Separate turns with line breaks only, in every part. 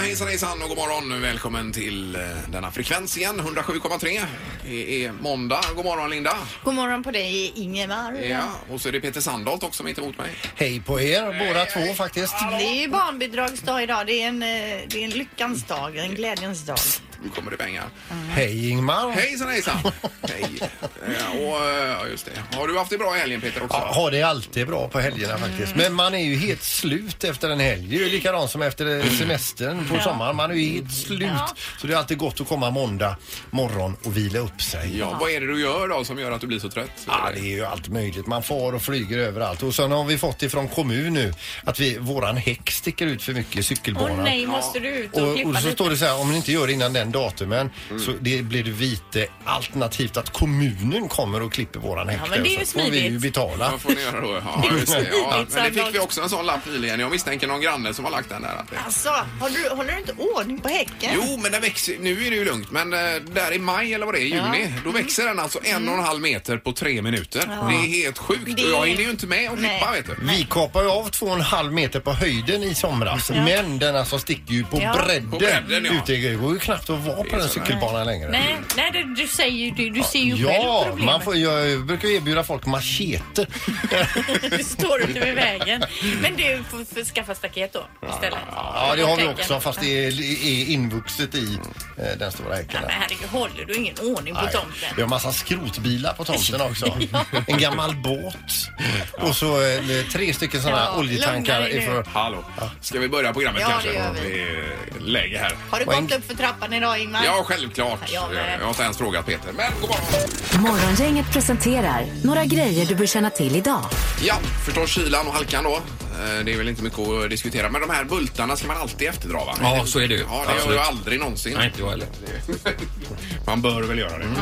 hejsan hejsan och god morgon. Välkommen till eh, denna frekvens igen, 107,3. Det är måndag. God morgon Linda.
God morgon på dig Ingemar.
Ja, och så är det Peter Sandholt också mitt emot mig.
Hej på er båda två faktiskt.
Det är ju barnbidragsdag idag. Det är, en, eh, det är en lyckans dag, en glädjens dag.
Nu kommer det pengar.
Hej Ingmar.
Hejsan hejsan. Hej. Eh, Och eh, ja, just det. Har du haft det bra i helgen Peter också?
Ja, har det alltid bra på helgerna faktiskt. Men man är ju helt slut efter en helg. Det är ju likadant som efter eh, semestern på sommaren. Man är ju helt slut.
Ja.
Så det är alltid gott att komma måndag morgon och vila upp sig.
Ja, vad är det du gör då som gör att du blir så trött?
Ja, det är ju allt möjligt. Man far och flyger överallt. Och sen har vi fått ifrån kommun nu att vi, våran häck sticker ut för mycket i
Åh
cykelbanan.
nej, måste du ut och,
Och,
klippa
och så
lite?
står det så här, om ni inte gör det innan den datumen
Mm.
så det blir det vite alternativt att kommunen kommer och klipper våran häck.
Ja, men det är
där,
ju
så får vi
smidigt.
ju betala.
Vad får ni göra då? Ja, just det. Ja,
Smidigt,
men det fick
Sandholt.
vi också en sån lapp nyligen. Jag misstänker någon granne som har lagt den där. Att det...
Alltså, har du, håller du inte ordning på häcken?
Jo, men den växer, nu är det ju lugnt, men eh, där i maj eller vad det är, i juni, då
Mm.
växer den alltså en och en halv meter på tre minuter. Det är helt sjukt och
Det-
jag hinner ju inte med att
Nej.
klippa vet du.
Vi kapar ju av två och en halv meter på höjden i somras men den alltså sticker ju på
Ja.
bredden.
På bredden, ja.
Ute, det går ju knappt att vara på
sådär.
den cykelbanan längre.
Nej, nej du, du säger ju det. Du ser ju själv
Ja,
problemet.
man får, jag brukar erbjuda folk machete.
Du står ute vid vägen. Men du får, får skaffa staket då istället.
Ja, det har vi
Tänker.
också fast det är, är invuxet i eh, den stora häcken.
Ja, men
där.
herregud, håller du ingen ordning på
Nej.
tomten?
Vi har massa skrotbilar på tomten också. En gammal båt. Och så eh, tre stycken sådana
Ja,
oljetankar.
lugna dig nu.
Ifrån,
Hallå, ska vi börja programmet
Ja, det
kanske?
gör vi.
Det är läge här.
Har du
Poäng.
gått upp för trappan idag Ingmar?
Ja, självklart.
Ja, men-
jag har inte ens frågat Peter, men god morgon.
Morgongänget presenterar några grejer du bör känna till idag.
Ja, förstås kylan och halkan då. Eh, Det är väl inte mycket att diskutera, men de här bultarna ska man alltid efterdra va?
Ja, så är det ju.
Ja, det gör
Absolut.
jag aldrig någonsin.
Nej, inte jag heller.
Man bör väl göra det.
Mm.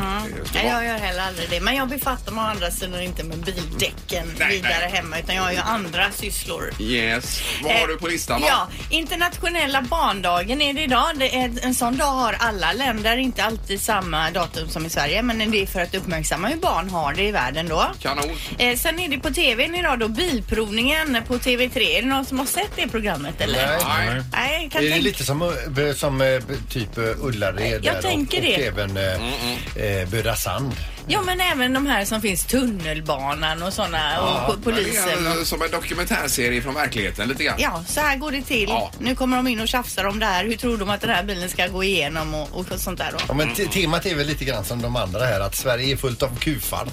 Det ska
Nej,
vara-
jag gör heller aldrig det. Men jag befattar mig å andra sidan inte med bildäcken
Nej,
vidare
nej.
hemma utan jag har ju andra sysslor.
Yes. Vad har du på listan då?
Eh, Ja, internationella barndagen är det idag. Det är, en sån dag har alla länder, inte alltid samma datum som i Sverige, men det är för att uppmärksamma hur barn har det i världen då.
Kanon.
Eh, sen är det på tvn idag då, Bilprovningen på TV3. Är det någon som har sett det programmet eller?
Nej.
Nej.
Nej, kan
Är det
tänka-
lite som, eh, som eh, typ eh, Ullared
Jag
där
tänker
och, och
det.
även eh, eh, Böda Sand?
Ja, men även de här som finns, tunnelbanan och sådana och po- polisen.
Det
och-
är, eh, Som en dokumentärserie från verkligheten lite grann.
Ja, så här går det till.
Ja.
Nu kommer de in och tjafsar om det här. Hur tror de att den här bilen ska gå igenom och, och sånt där då?
Ja, men te- temat är väl lite grann som de andra här att Sverige är fullt av kufar.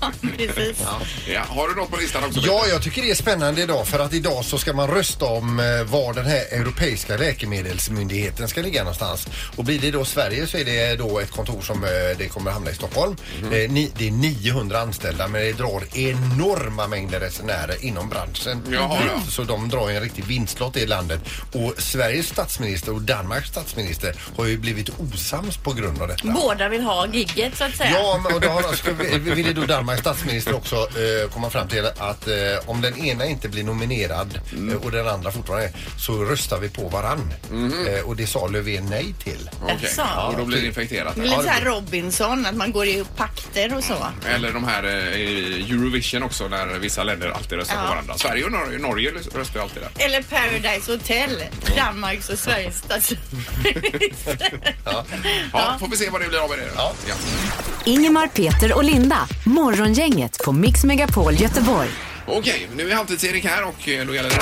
Ja, precis.
Ja, har du något på listan också?
Ja, jag tycker det är spännande idag för att idag så ska man rösta om eh, var den här europeiska läkemedelsmyndigheten ska ligga någonstans. Och blir det då Sverige så är det då ett kontor som eh, det kommer hamna i Stockholm.
Mhm.
Eh, ni, det är 900 anställda men det drar enorma mängder resenärer inom branschen.
Jaha, ja.
Så de drar ju en riktig vinstlott i landet. Och Sveriges statsminister och Danmarks statsminister har ju blivit osams på grund av detta.
Båda vill ha gigget så att säga.
Ja, men och då har, ska, vi- ville då Danmarks statsminister också eh, komma fram till att eh, om den ena inte blir nominerad
Mm.
eh, och den andra fortfarande är, så röstar vi på varann.
Mm-hmm.
Eh, och det sa Löfven nej till.
Okej,
Jaså.
och då blir det infekterat.
Det blir lite så här Robinson, att man går i pakter och så.
Eller de här eh, i Eurovision också när vissa länder alltid röstar på
Ja.
varandra. Sverige och Norge, Norge röstar ju alltid där.
Eller Paradise Hotel, Danmarks och Sveriges statsminister.
Ja, får vi se vad det blir av det. Ja. Ja.
Ingemar, Peter och Linda. Morgongänget på Mix Megapol Göteborg.
Okej, nu är Halvtids-Erik här och eh, då gäller det...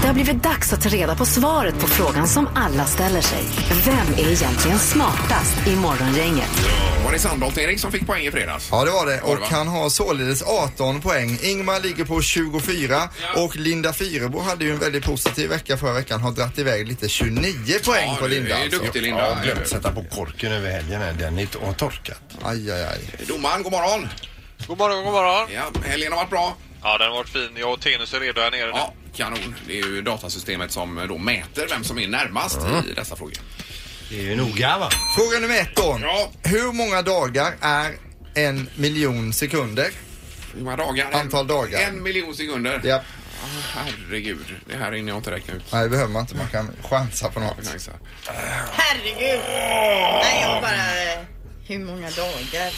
Det har blivit dags att ta reda på svaret på frågan som alla ställer sig. Vem är egentligen smartast i Morgongänget?
Var det Sandholt-Erik som fick poäng i fredags?
Ja, det var det.
Var det,
Och
va?
han har således 18 poäng. Ingmar ligger på 24 och Linda Fyrebo hade ju en väldigt positiv vecka förra veckan. Har dratt iväg lite 29 poäng
Ja,
på
du
Linda
är
alltså.
duktig
Jag har
Linda.
glömt sätta på korken över helgen. här. Den är inte har torkat.
Aj, aj, aj.
Domaren, god morgon.
God morgon, god morgon.
Ja, helgen har varit bra.
Ja, den har varit fin. Jag och Tenus är redo här nere
Ja, kanon. Det är ju datasystemet som eh, då mäter vem som är närmast i dessa frågor.
Det är ju noga va?
Fråga nummer ett då.
Ja.
Hur många dagar är en miljon sekunder?
Hur många dagar?
Antal dagar.
En miljon sekunder. Ah,
Ja,
Herregud, det här hinner jag inte räkna ut.
nej det behöver man inte. Man kan chansa på något.
Nice.
Herregud! Nej, jag bara... eh, Hur många dagar?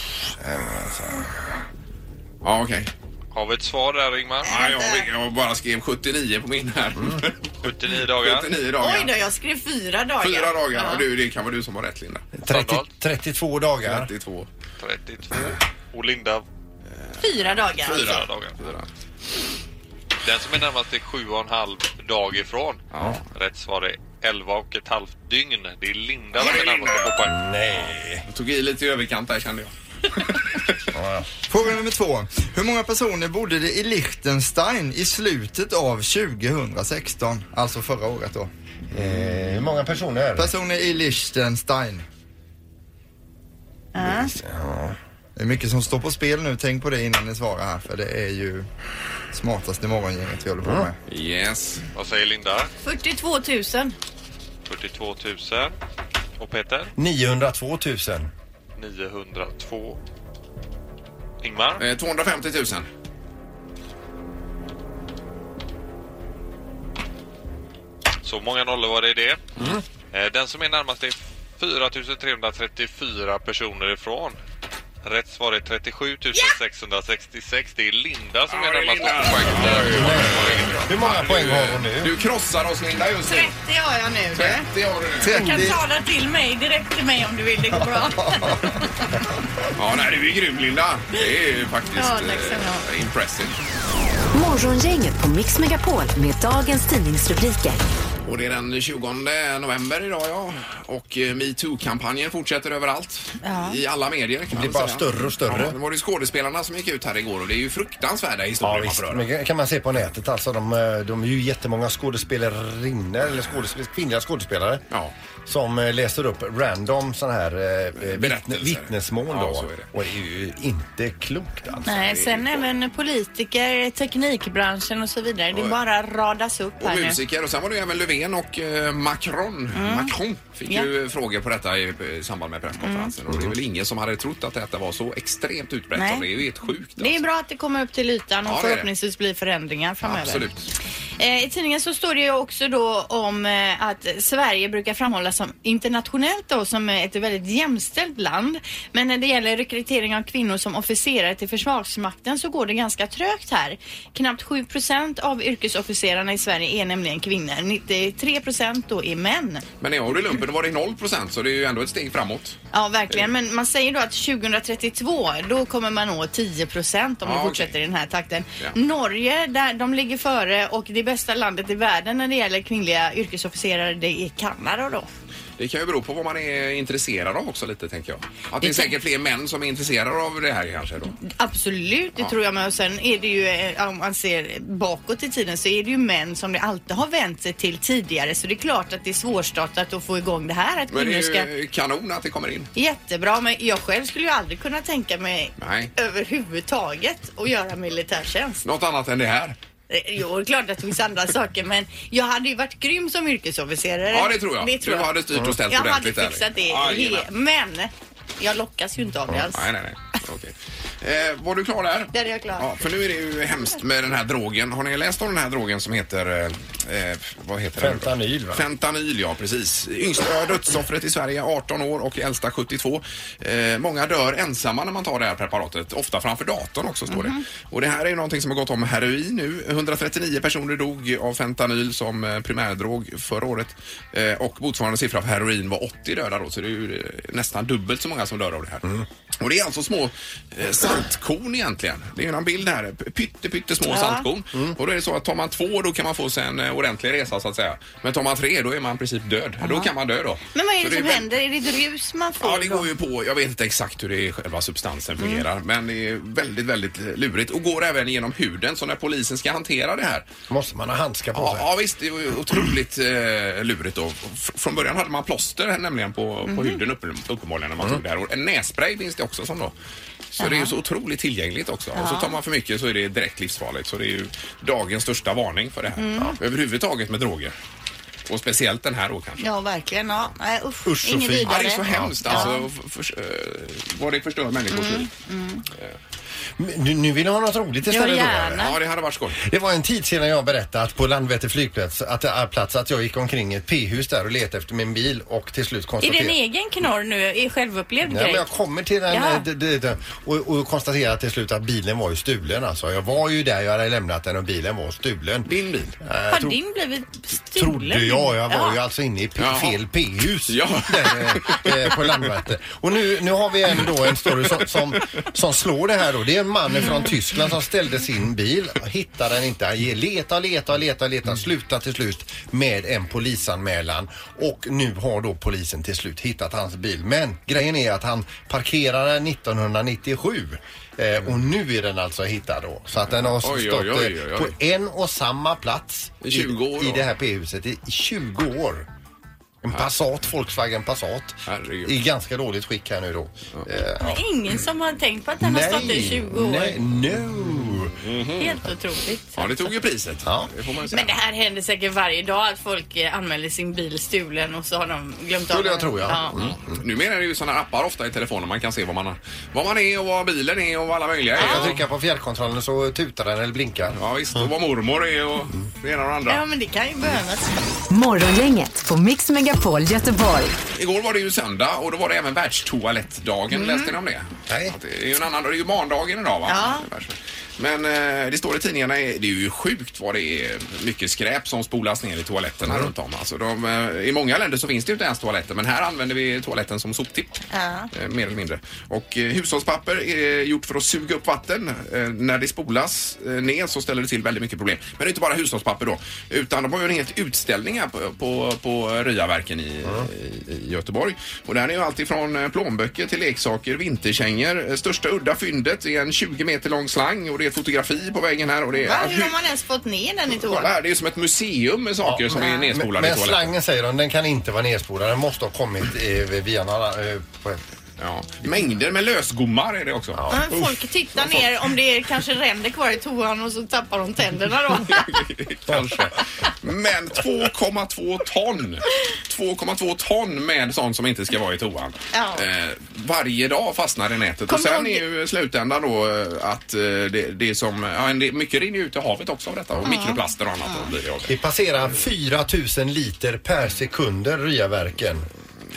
Ja, okej.
Har vi ett svar där, Ingmar?
Ah, Ja, jag, jag bara skrev 79 på min här.
79 dagar.
79
Oj då,
dagar.
jag skrev fyra dagar.
Fyra dagar. Och
Ja.
du, det kan vara du som har rätt Linda.
30,
Sandal.
32 dagar.
32.
32. Och Linda
Fyra dagar.
Fyra dagar.
Fyra.
Den som är närmast är sju och en halv dag ifrån.
Ja.
Rätt svar är elva och ett halvt dygn. Det är Linda som är närmast på poäng.
Nej.
Jag tog i lite i överkant där kände jag.
Fråga nummer två. Hur många personer bodde det i Liechtenstein i slutet av 2016? Alltså förra året då.
Eh, hur många personer?
Personer i Liechtenstein. Ja. Det är mycket som står på spel nu. Tänk på det innan ni svarar här för det är ju smartaste morgongänget vi håller på med.
Yes.
Vad säger Linda?
42 000.
42 000. Och Peter?
902 000.
902. Ingmar?
Eh, 250 000.
Så många nollor var det i det. Eh, Den som är närmast är 4334 personer ifrån. Rätt svar är 37 666. Det är Linda som är närmast på poäng.
Hur många poäng har hon nu?
Du krossar oss Linda just nu.
30 har jag nu. Du.
30 har du nu.
30.
kan tala till mig direkt till mig om du vill. Det går bra.
Ja, nej, du är grym Linda. Det är ju faktiskt
Ja, tack ska ni ha.
eh, impressive.
Morgongänget på Mix Megapol med dagens tidningsrubriker.
Och det är den 20 november idag ja. Och eh, metoo-kampanjen fortsätter överallt. I alla medier kan man
blir
väl
bara
säga.
större och större.
Ja, det var ju skådespelarna som gick ut här igår och det är ju fruktansvärda
Ja,
historier man
visst.
får höra.
Men kan man se på nätet alltså. De, eh, de är ju jättemånga skådespelarinnor eller skådespel, kvinnliga skådespelare
Ja.
som eh, läser upp random sån här eh, vittne,
Berättelser.
vittnesmål
Ja,
då.
så är det.
Och det är ju inte klokt alltså.
Nej, sen även politiker, teknikbranschen och så vidare. Det bara radas upp
Och
här nu.
musiker. Och sen var det ju även Löfven och eh, Macron. Macron fick
Mm. Ja. Mm.
ju frågor på detta i eh, samband med presskonferensen. Och det är väl ingen som hade trott att detta var så extremt utbrett
Nej.
som det är. Det är ju helt sjukt. alltså.
Det är bra att det kommer upp till ytan
Ja,
och
det är det.
förhoppningsvis blir förändringar framöver.
Absolut.
Eh, I tidningen så står det ju också då om eh, att Sverige brukar framhållas som internationellt då som eh, ett väldigt jämställt land. Men när det gäller rekrytering av kvinnor som officerare till Försvarsmakten så går det ganska trögt här. Knappt 7 procent av yrkesofficerarna i Sverige är nämligen kvinnor. 93 procent då är män.
Men när jag gjorde lumpen då var det 0 procent så det är ju ändå ett steg framåt.
Ja, verkligen. Men man säger då att 2032, då kommer man nå 10 procent om
Ja,
det
okej.
fortsätter i den här takten.
Ja.
Norge, där de ligger före och det bästa landet i världen när det gäller kvinnliga yrkesofficerare, det är Kanada då.
Det kan ju bero på vad man är intresserad av också lite tänker jag. Att det är
Det kan-
säkert fler män som är intresserade av det här kanske då.
Absolut, det
Ja.
tror jag med. Och sen är det ju, eh, om man ser bakåt i tiden, så är det ju män som det alltid har vänt sig till tidigare. Så det är klart att det är svårstartat att få igång det här, att
Men det
kvinnor ska...
är ju kanon att det kommer in.
Jättebra, men jag själv skulle ju aldrig kunna tänka mig
Nej.
överhuvudtaget att göra militärtjänst.
Något annat än det här.
Eh, Jo, det är klart att det finns andra saker men jag hade ju varit grym som yrkesofficerare.
Ja, det tror jag.
Det tror
du
jag. Mm.
hade styrt och ställt
jag hade
ordentligt där.
fixat det.
Ja, jajamän.
he- men jag lockas ju inte av det alls.
Nej, nej, nej. Okej. Eh, var du klar där?
Där är jag klar.
Ja, för nu är det ju hemskt med den här drogen. Har ni läst om den här drogen som heter... Eh, eh, vad heter den?
Fentanyl, va?
Fentanyl, ja precis. Yngsta dödsoffret i Sverige 18 år och äldsta 72. Eh, många dör ensamma när man tar det här preparatet. Ofta framför datorn också står det. Och det här är ju någonting som har gått om heroin nu. 139 personer dog av fentanyl som eh, primärdrog förra året. Eh, och motsvarande siffra för heroin var 80 döda då. Så det är ju eh, nästan dubbelt så många som dör av det här. Och det är alltså små eh, saltkorn egentligen. Det är ju en bild här. P- Pytte, pyttesmå saltkorn. Och då är det så att tar man två då kan man få sig en eh, ordentlig resa så att säga. Men tar man tre då är man i princip död. Då kan man dö då.
Men vad är
Så
det som
väl-
händer? Är det ett rus man får?
Ja, det
då? Mm.
går ju på. Jag vet inte exakt hur det är själva substansen fungerar, men det är väldigt, väldigt lurigt och går även genom huden. Så när polisen ska hantera det här
Måste man ha handskar på
Ja,
sig?
ja visst, det var ju otroligt eh, lurigt då. F- Från början hade man plåster här nämligen på, på huden uppe, uppenbarligen när man tog det här. Och en nässpray finns det också som då. Så det är ju så otroligt tillgängligt också. Och så tar man för mycket så är det direkt livsfarligt. Så det är ju dagens största varning för det här. Ja. Överhuvudtaget med droger. Och speciellt den här då kanske.
Ja, verkligen. Ja. Nej, usch,
Usch, så
inget
fint.
Ja,
vidare.
alltså. det är så hemskt alltså. För, för, eh, vad det förstör människors liv. Eh,
Men Nu, nu vill jag ha något roligt istället
gärna.
då.
Ja, det hade varit skoj.
Det var en tid sedan jag berättade att på Landvetter flygplats att, äh, plats, att jag gick omkring i ett p-hus där och letade efter min bil och till slut
Är
konstaterade...
det en egen knorr nu? Är självupplevd
Nej, men
grej?
jag kommer till den
Jaha.
eh, d- d- d- och, och konstaterar till slut att bilen var ju stulen alltså. Jag var ju där, jag hade lämnat den och bilen var stulen.
Din bil.
Har din blivit stulen?
Trodde jag. Jag var
Ja.
ju alltså inne i p-
Jaha.
fel p-hus
Ja.
där, eh, på Landvetter. Och nu, nu har vi en, då, en story som, som, som slår det här då. Det är en man från Tyskland som ställde sin bil, hittade den inte. Han letar, letar, letar, letar,
Mm.
slutar till slut med en polisanmälan. Och nu har då polisen till slut hittat hans bil. Men grejen är att han parkerade den 1997. Eh, och nu är den alltså hittad då. Så att den har stått
Oj, oj, oj, oj,
eh,
oj.
på en och samma plats
I 20 år
i, i
då.
det här p-huset i 20 år. En Passat, Volkswagen Passat.
Herregud.
I ganska dåligt skick här nu då. Eh,
Det är Ingen som har tänkt på att den har stått i 20 år.
nej, no.
Helt otroligt.
Ja, det tog ju priset.
Ja.
Det får man ju säga.
Men det här händer säkert varje dag att folk eh, anmäler sin bil stulen och så har de glömt av
Skulle jag
den.
tro, ja. Mm.
ja.
Numera är det ju sådana appar ofta i telefonen. Man kan se vad man, vad man är och vad bilen är och vad alla möjliga
Jag
är.
trycker på fjärrkontrollen så tutar den eller blinkar.
Ja, visst. Och vad mormor är och det ena och det andra.
Ja, men det kan ju behövas.
Morgongänget på Mix Megapol Göteborg.
Igår var det ju söndag och då var det även världstoalettdagen. Läste ni om det?
Mm. Nej.
Att Det är ju en annan, det är ju barndagen idag va? Ja. Men eh, det står i tidningarna, det är ju sjukt vad det är mycket skräp som spolas ner i toaletterna
Mm.
runt om. Alltså de, eh, I många länder så finns det ju inte ens toaletter men här använder vi toaletten som soptipp. Eh, mer eller mindre. Och eh, hushållspapper är gjort för att suga upp vatten. Eh, när det spolas eh, ner så ställer det till väldigt mycket problem. Men det är inte bara hushållspapper då utan de har ju en helt utställning här på, på, på Ryaverken i, i, i Göteborg. Och där är ju allt ifrån eh, plånböcker till leksaker, vinterkängor. Eh, Största udda fyndet är en 20 meter lång slang och det är ett fotografi på väggen här. Och det är,
Va, hur har man ens fått ner den i
Kolla
toan?
här, det är ju som ett museum med saker som är
Men,
nedspolade i
men
toaletten.
slangen säger de, den kan inte vara nedspolad. Den måste ha kommit eh, via några... Eh, på ett.
Ja. Mängder med lösgommar är det också.
Ja, men folk tittar ner om det är kanske ränder kvar i toan och så tappar de tänderna då.
Kanske. Men 2,2 ton. 2,2 ton med sånt som inte ska vara i toan.
Ja.
Eh, varje dag fastnar i nätet.
Kommer
och sen
du
är
ihåg-
ju slutändan då eh, att eh, det, det är som, ja, en del- mycket rinner ju ut i havet också av detta och mikroplaster och annat. Och blir det av det.
Det passerar 4000 liter per sekunder Ryaverken.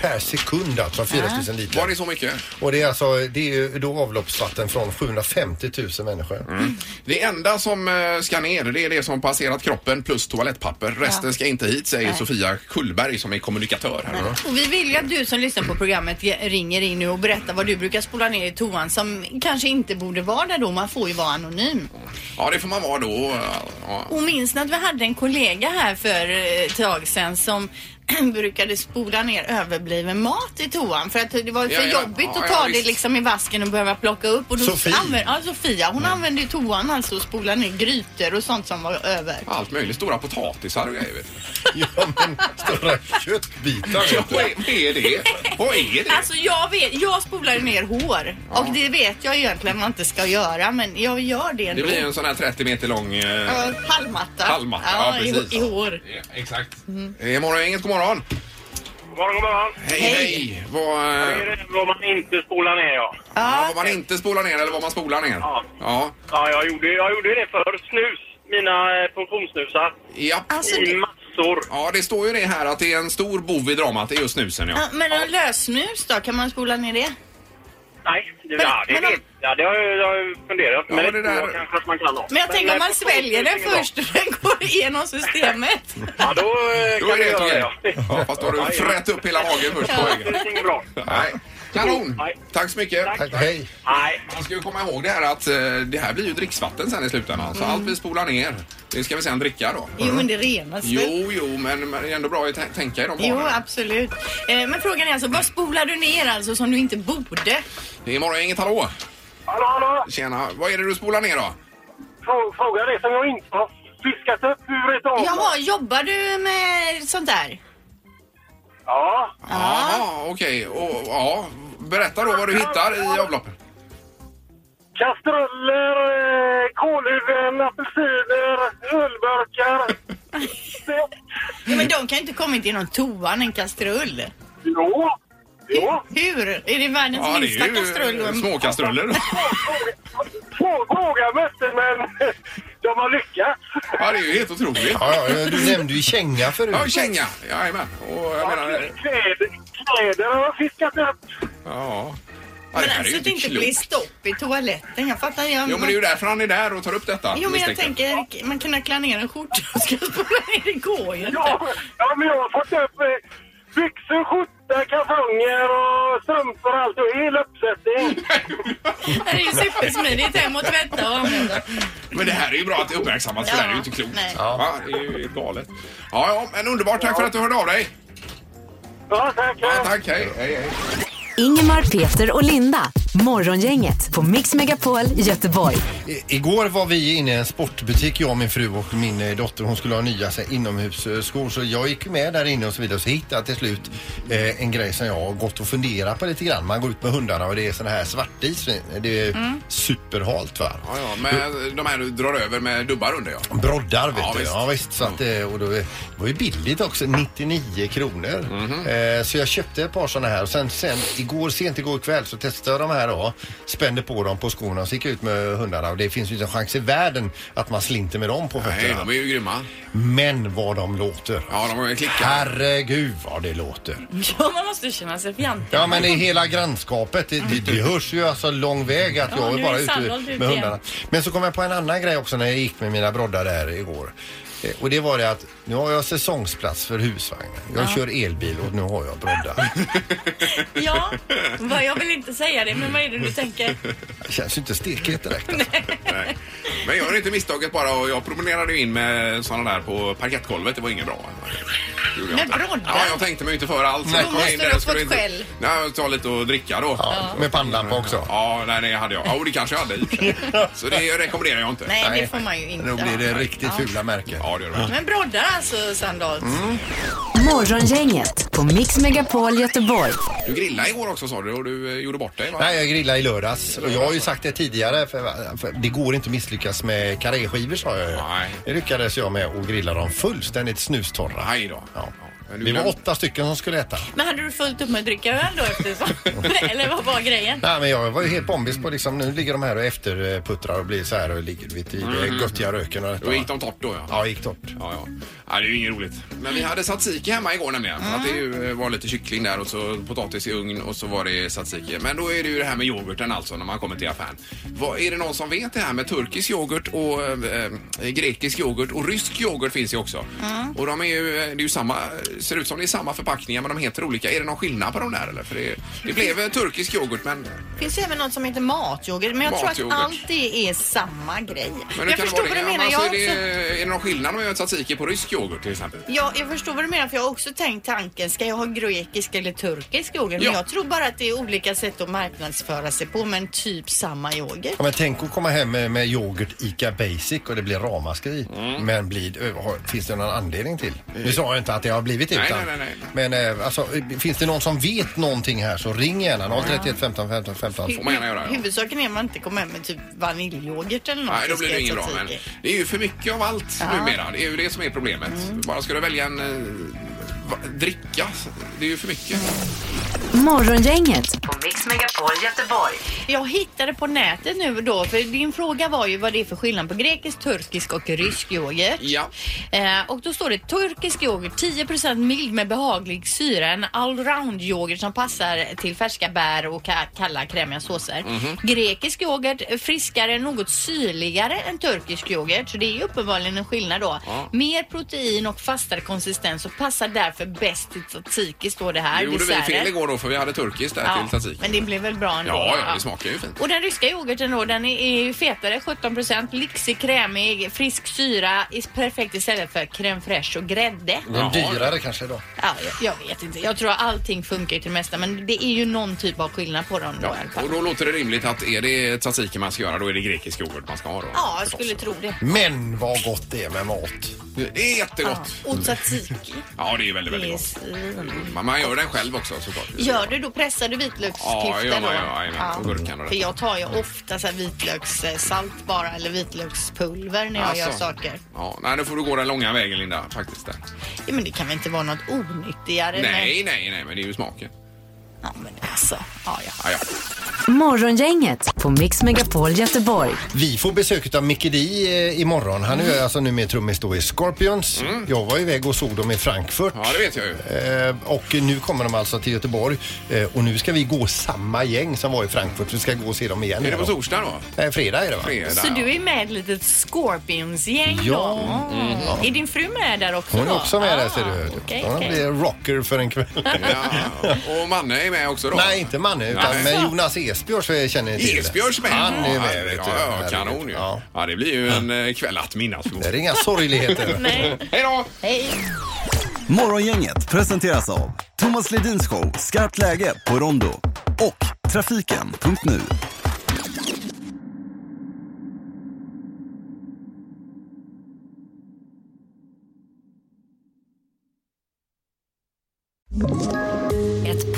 Per sekund alltså, 4000 liter.
Var det så mycket?
Och det är alltså, det är ju då avloppsvatten från 750 000 människor.
Mm. Det enda som eh, ska ner det är det som passerat kroppen plus toalettpapper. Resten ska inte hit säger Sofia Kullberg som är kommunikatör här.
Och vi vill ju att du som lyssnar på programmet ge- ringer in nu och berättar vad du brukar spola ner i toan som kanske inte borde vara där då. Man får ju vara anonym.
Ja, det får man vara då. Ja.
Och minns ni att vi hade en kollega här för eh, ett tag sedan som brukade spola ner överbliven mat i toan för att det var ju för
Ja, ja.
jobbigt
Ja,
att
ja,
ta det
visst.
liksom i vasken och behöva plocka upp. Och då
Sofie.
Använde, ja, Sofia. Hon använde ju toan alltså och spolade ner grytor och sånt som var över.
Allt möjligt. Stora potatisar och grejer. vet du.
Ja, men stora köttbitar.
Ja,
vet du.
vad är- vad är det? Vad är det?
Alltså jag vet, jag spolar ju ner hår och det vet jag egentligen man inte ska göra men jag gör det
Det
ändå.
blir ju en sån här 30 meter lång eh,
Ja, Halmmatta.
halmmatta.
Ja,
Ja, precis.
i, i hår. Mm.
Ja, exakt. Eh, morgon, inget god morgon.
God morgon, god morgon.
Hej, hej. Vad,
Det
eh,
är det vad man inte spolar ner, ja.
ja, vad man inte spolar ner eller vad man spolar ner.
Ja.
Ja.
Ja, jag gjorde, jag gjorde det för Snus. Mina eh, funktionssnusar.
Japp.
Alltså,
I massor.
Ja, det står ju det här att det är en stor bov i dramat. Det är just snusen, ja.
Ja, Men en lössnus då, kan man spola ner det?
Nej, det,
Men-
ja, det,
men om-
vet- ja, det har jag, jag har ju funderat.
Ja,
men det
det
tror
där-
jag kanske att man kan ha.
Men jag tänker
eh,
om man
funktionssnus
sväljer
är
den
bra.
först och den går igenom systemet.
Ja, då, eh,
Då
kan
är det
du
helt
göra det.
okej.
Ja.
Ja, fast då har du frätt upp hela magen först på
Det
vägen.
är inget bra.
Nej. Kanon!
Nej.
Tack så mycket.
Tack, hej.
Nej.
Man ska ju komma ihåg det här att eh, det här blir ju dricksvatten sen i slutändan.
Mm.
Så allt vi spolar ner, det ska vi sen dricka då.
Jo men det renas väl?
Jo, jo, men men det är ändå bra att tän- tänka i de
Jo,
banorna.
absolut. Eh, Men frågan är alltså, vad spolar du ner alltså som du inte borde?
Det är morgon, inget hallå!
Hallå, hallå!
Tjena, vad är det du spolar ner då?
Frå- Fråga det som jag inte har fiskat upp ur ett avlopp.
Jaha, jobbar du med sånt där?
Ja.
Jaha, okej. Och, ja, berätta då vad du hittar i avloppet.
Kastruller, eh, kolhuvuden, apelsiner, ölburkar. Det-
Ja, men de kan ju inte kommit genom toan, en kastrull.
jo, jo.
Hur? Är det världens
Ja, det
minsta
är
kastrull? och
ju
en-
småkastruller.
låga möten, men de har lyckats.
Ja, det är ju helt otroligt.
Ja, ja, du nämnde ju känga förut.
Ja, känga. Jajamän. Och jag menar...
Kläder, kläder har fiskat upp.
Ja. Ja, det
Men
här är ju
alltså att det inte
klokt.
blir stopp i toaletten. Jag fattar. Jag,
Jo, men det är ju därför han är där och tar upp detta.
Jo, men jag
misstänker.
tänker, man kan knackla ner en skjorta och ska spola ner. Det går ju inte.
Ja, ja, men jag har fått upp eh, byxor, skjorta, kalsonger och strumpor och allt. Och hel uppsättning.
Det är ju supersmidigt hem och tvätta och använda.
Men det här är ju bra att det uppmärksammas, för
Ja.
det här är ju inte klokt.
Nej.
Ja, det är ju galet. Ja, ja, men underbart. Tack för att du hörde av dig.
Ja, tack.
Ja, tack, hej. hej, hej.
Ingemar, Peter och Linda. Morgongänget på Mix Megapol Göteborg.
I- Igår var vi inne i en sportbutik, jag, min fru och min eh, dotter. Hon skulle ha nya så här, inomhusskor. Så jag gick med där inne och så vidare. Och så hittade jag till slut eh, en grej som jag har gått och funderat på lite grann. Man går ut med hundarna och det är sån här svartis. Det är
Mm.
superhalt va.
Ja, ja, men de här du drar över med dubbar under, ja.
Broddar vet
Ja,
du.
visst.
Ja, visst. Så att, eh, och då, det var ju billigt också, 99 kronor.
Mhm.
eh, så jag köpte ett par sådana här och sen, sen igår, sent igår kväll så testade jag de här då. Spände på dem på skorna och så gick jag ut med hundarna och det finns ju inte en chans i världen att man slinter med dem på
Nej,
fötterna.
de är ju grymma.
Men vad de låter.
Ja, de har ju klickat.
Herregud vad det låter.
Ja, man måste känna sig fjantig.
Ja men i hela grannskapet, det, det, det hörs ju alltså lång väg att
Ja,
jag
nu
är
är
bara
Sandholt
ute
ute
med
igen.
hundarna. Men så kom jag på en annan grej också när jag gick med mina broddar där igår. Eh, Och det var det att nu har jag säsongsplats för husvagn. Jag kör elbil och nu har jag broddar.
Ja, vad- jag vill inte säga det, men vad är det du tänker?
Det känns ju inte stekhet direkt. Alltså.
Nej. Men gör inte misstaget bara. och Jag promenerade ju in med sådana där på parkettgolvet. Det var inget bra. Det gjorde jag
Med
inte.
broddar?
Ja, jag tänkte mig inte för alls.
Nej.
Jag kom
Då måste
in
du
där,
ha
skulle
fått
inte-
skäll.
Nej, jag tar lite och dricka då.
Ja, med pannlampa också.
Ja, nej, det hade jag. Jo, det kanske jag hade i och för sig. Så det rekommenderar jag inte.
Nej, det får man ju inte.
Då blir det
ha.
riktigt
Ja.
fula märken.
Ja, det gör det.
Men broddar alltså sandalt?
Mm.
Morgongänget på Mix Megapol Göteborg.
Du grillade igår också sa du och du eh, gjorde bort dig va?
Nej, jag grillade i lördags och jag har ju sagt det tidigare för, för det går inte att misslyckas med karéskivor sa jag ju.
Nej.
Det lyckades jag med att grilla dem fullständigt snustorra.
Aj då.
Ja.
Men du
Vi var
glömde-
åtta stycken som skulle äta.
Men hade du fullt upp med att dricka öl då eftersom? Eller vad var grejen?
Nej, men jag var ju helt bombis på liksom, nu ligger de här och efterputtrar och blir så här och ligger vet, i mm. göttiga röken och detta.
Då
va?
gick de torrt då ja.
Ja, gick torrt.
Ja, ja. ja, det är ju inget roligt. Men vi hade tzatziki hemma igår nämligen. För att det ju, eh, var lite kyckling där och så potatis i ugn och så var det tzatziki. Men då är det ju det här med yoghurten alltså när man kommer till affären. Vad, är det någon som vet det här med turkisk yoghurt och eh, eh, grekisk yoghurt och rysk yoghurt finns ju också. Och de är ju, eh, det är ju samma, ser ut som det är samma förpackningar men de heter olika. Är det någon skillnad på de där eller? För det, det blev eh, turkisk yoghurt men
finns ju även något som heter matyoghurt, men jag tror
Matyoghurt.
att allt det är samma grej.
Men hur
jag
kan det vara
förstår vad
det?
du menar.
Annars
Jag, har
är,
också,
det, är det någon skillnad om jag gör tzatziki på rysk yoghurt till exempel?
ja, jag förstår vad du menar, för jag har också tänkt tanken, ska jag ha grekisk eller turkisk yoghurt?
Ja.
Men jag tror bara att det är olika sätt att marknadsföra sig på, men typ samma yoghurt.
Ja, men tänk att komma hem med, med yoghurt Ica Basic och det blir ramaskri.
Mm.
Men blir, ö, har, finns det någon anledning till? Nu sa jag inte att det har blivit
Nej,
utan.
nej, nej,
Men eh, alltså, eh, finns det någon som vet någonting här så ring gärna 031 15 15 15.
Får man gärna göra, ja.
Huvudsaken är att man inte kommer hem med typ vaniljyoghurt eller något.
Nej, då
som
blir
ska
det ingen bra.
ätas
Men
i.
det är ju för mycket av allt numera. Det är ju det som är problemet.
Mm.
Bara ska du välja en eh, va, dricka, det är ju för mycket.
Morgongänget på Mix Megapol Göteborg.
Jag hittade på nätet nu då, för din fråga var ju vad det är för skillnad på grekisk, turkisk och rysk yoghurt.
Ja.
Eh, och då står det turkisk yoghurt 10 mild med behaglig syra. En allround yoghurt som passar till färska bär och ka- kalla krämiga såser.
Mhm.
Grekisk yoghurt friskare, något syrligare än turkisk yoghurt. Så det är ju uppenbarligen en skillnad då.
Ja.
Mer protein och fastare konsistens och passar därför bäst till tzatziki står det här.
Nu gjorde vi
desserter.
fel igår då för vi hade turkiskt där till tzatziki.
men det blev väl bra ändå?
Ja, ja, det smakar ju fint.
Och den ryska yoghurten då, den är är ju fetare, 17 procent, lyxig, krämig, frisk syra, is- perfekt istället för crème fraîche och grädde.
Mm.
Men dyrare kanske då.
Ja, jag, jag vet inte, jag tror allting funkar ju till det mesta men det är ju någon typ av skillnad på dem då i alla
Ja, och
fall.
då låter det rimligt att är det tzatziki man ska göra då är det grekisk yoghurt man ska ha då.
Ja, jag
förstås.
skulle tro det.
Men vad gott det är med mat.
Det är jättegott.
Och tzatziki.
Ja, det är väldigt, Mm.
Det
väldigt
är
gott.
svin.
Men man gör den själv också såklart.
Gör du då, pressar du vitlöksklyftor
Ja, gör man,
då?
ja, jajamän. Och gurkan och detta.
För jag tar ju ofta så här vitlökssalt bara eller vitlökspulver när jag gör
Alltså.
saker.
Ja, nej, nu får du gå den långa vägen Linda faktiskt. Där.
Ja, men det kan väl inte vara något onyttigare? med-
Nej, nej, nej, men det är ju smaken.
Ja, men alltså. Ja, ja.
Ja, ja.
Morgongänget på Mix Megapol Göteborg.
Vi får besök av Mickey D eh, imorgon. Han är
Mm.
ju alltså nu med trummis då i Scorpions. Jag var iväg och såg dem i Frankfurt.
Ja, det vet jag ju.
Eh, Och nu kommer de alltså till Göteborg Eh, och nu ska vi gå samma gäng som var i Frankfurt. Vi ska gå och se dem igen.
Är det på
här då.
torsdag då?
Nej, fredag är det va?
Fredag.
Så du är med i ett litet Scorpions-gäng
Ja. Mm.
då? Är din fru med där också
Hon
då?
är också med där
Ah,
ser du.
okej,
Hon
okej.
blir rocker för en kväll.
Ja, och Manne är med också då?
Nej, inte Manne utan
Nej.
men Jonas Esbjörn så jag känner ni till.
Esbjörns med?
Han är med.
Ja,
vet du.
ja, ja, kanon ju. Ja.
Ja.
det blir ju en eh, kväll att minnas.
Det är inga sorgligheter.
Nej.
Hej då!
Morgongänget presenteras av Thomas Ledins show Skarpt läge på Rondo och Trafiken.nu.
Ett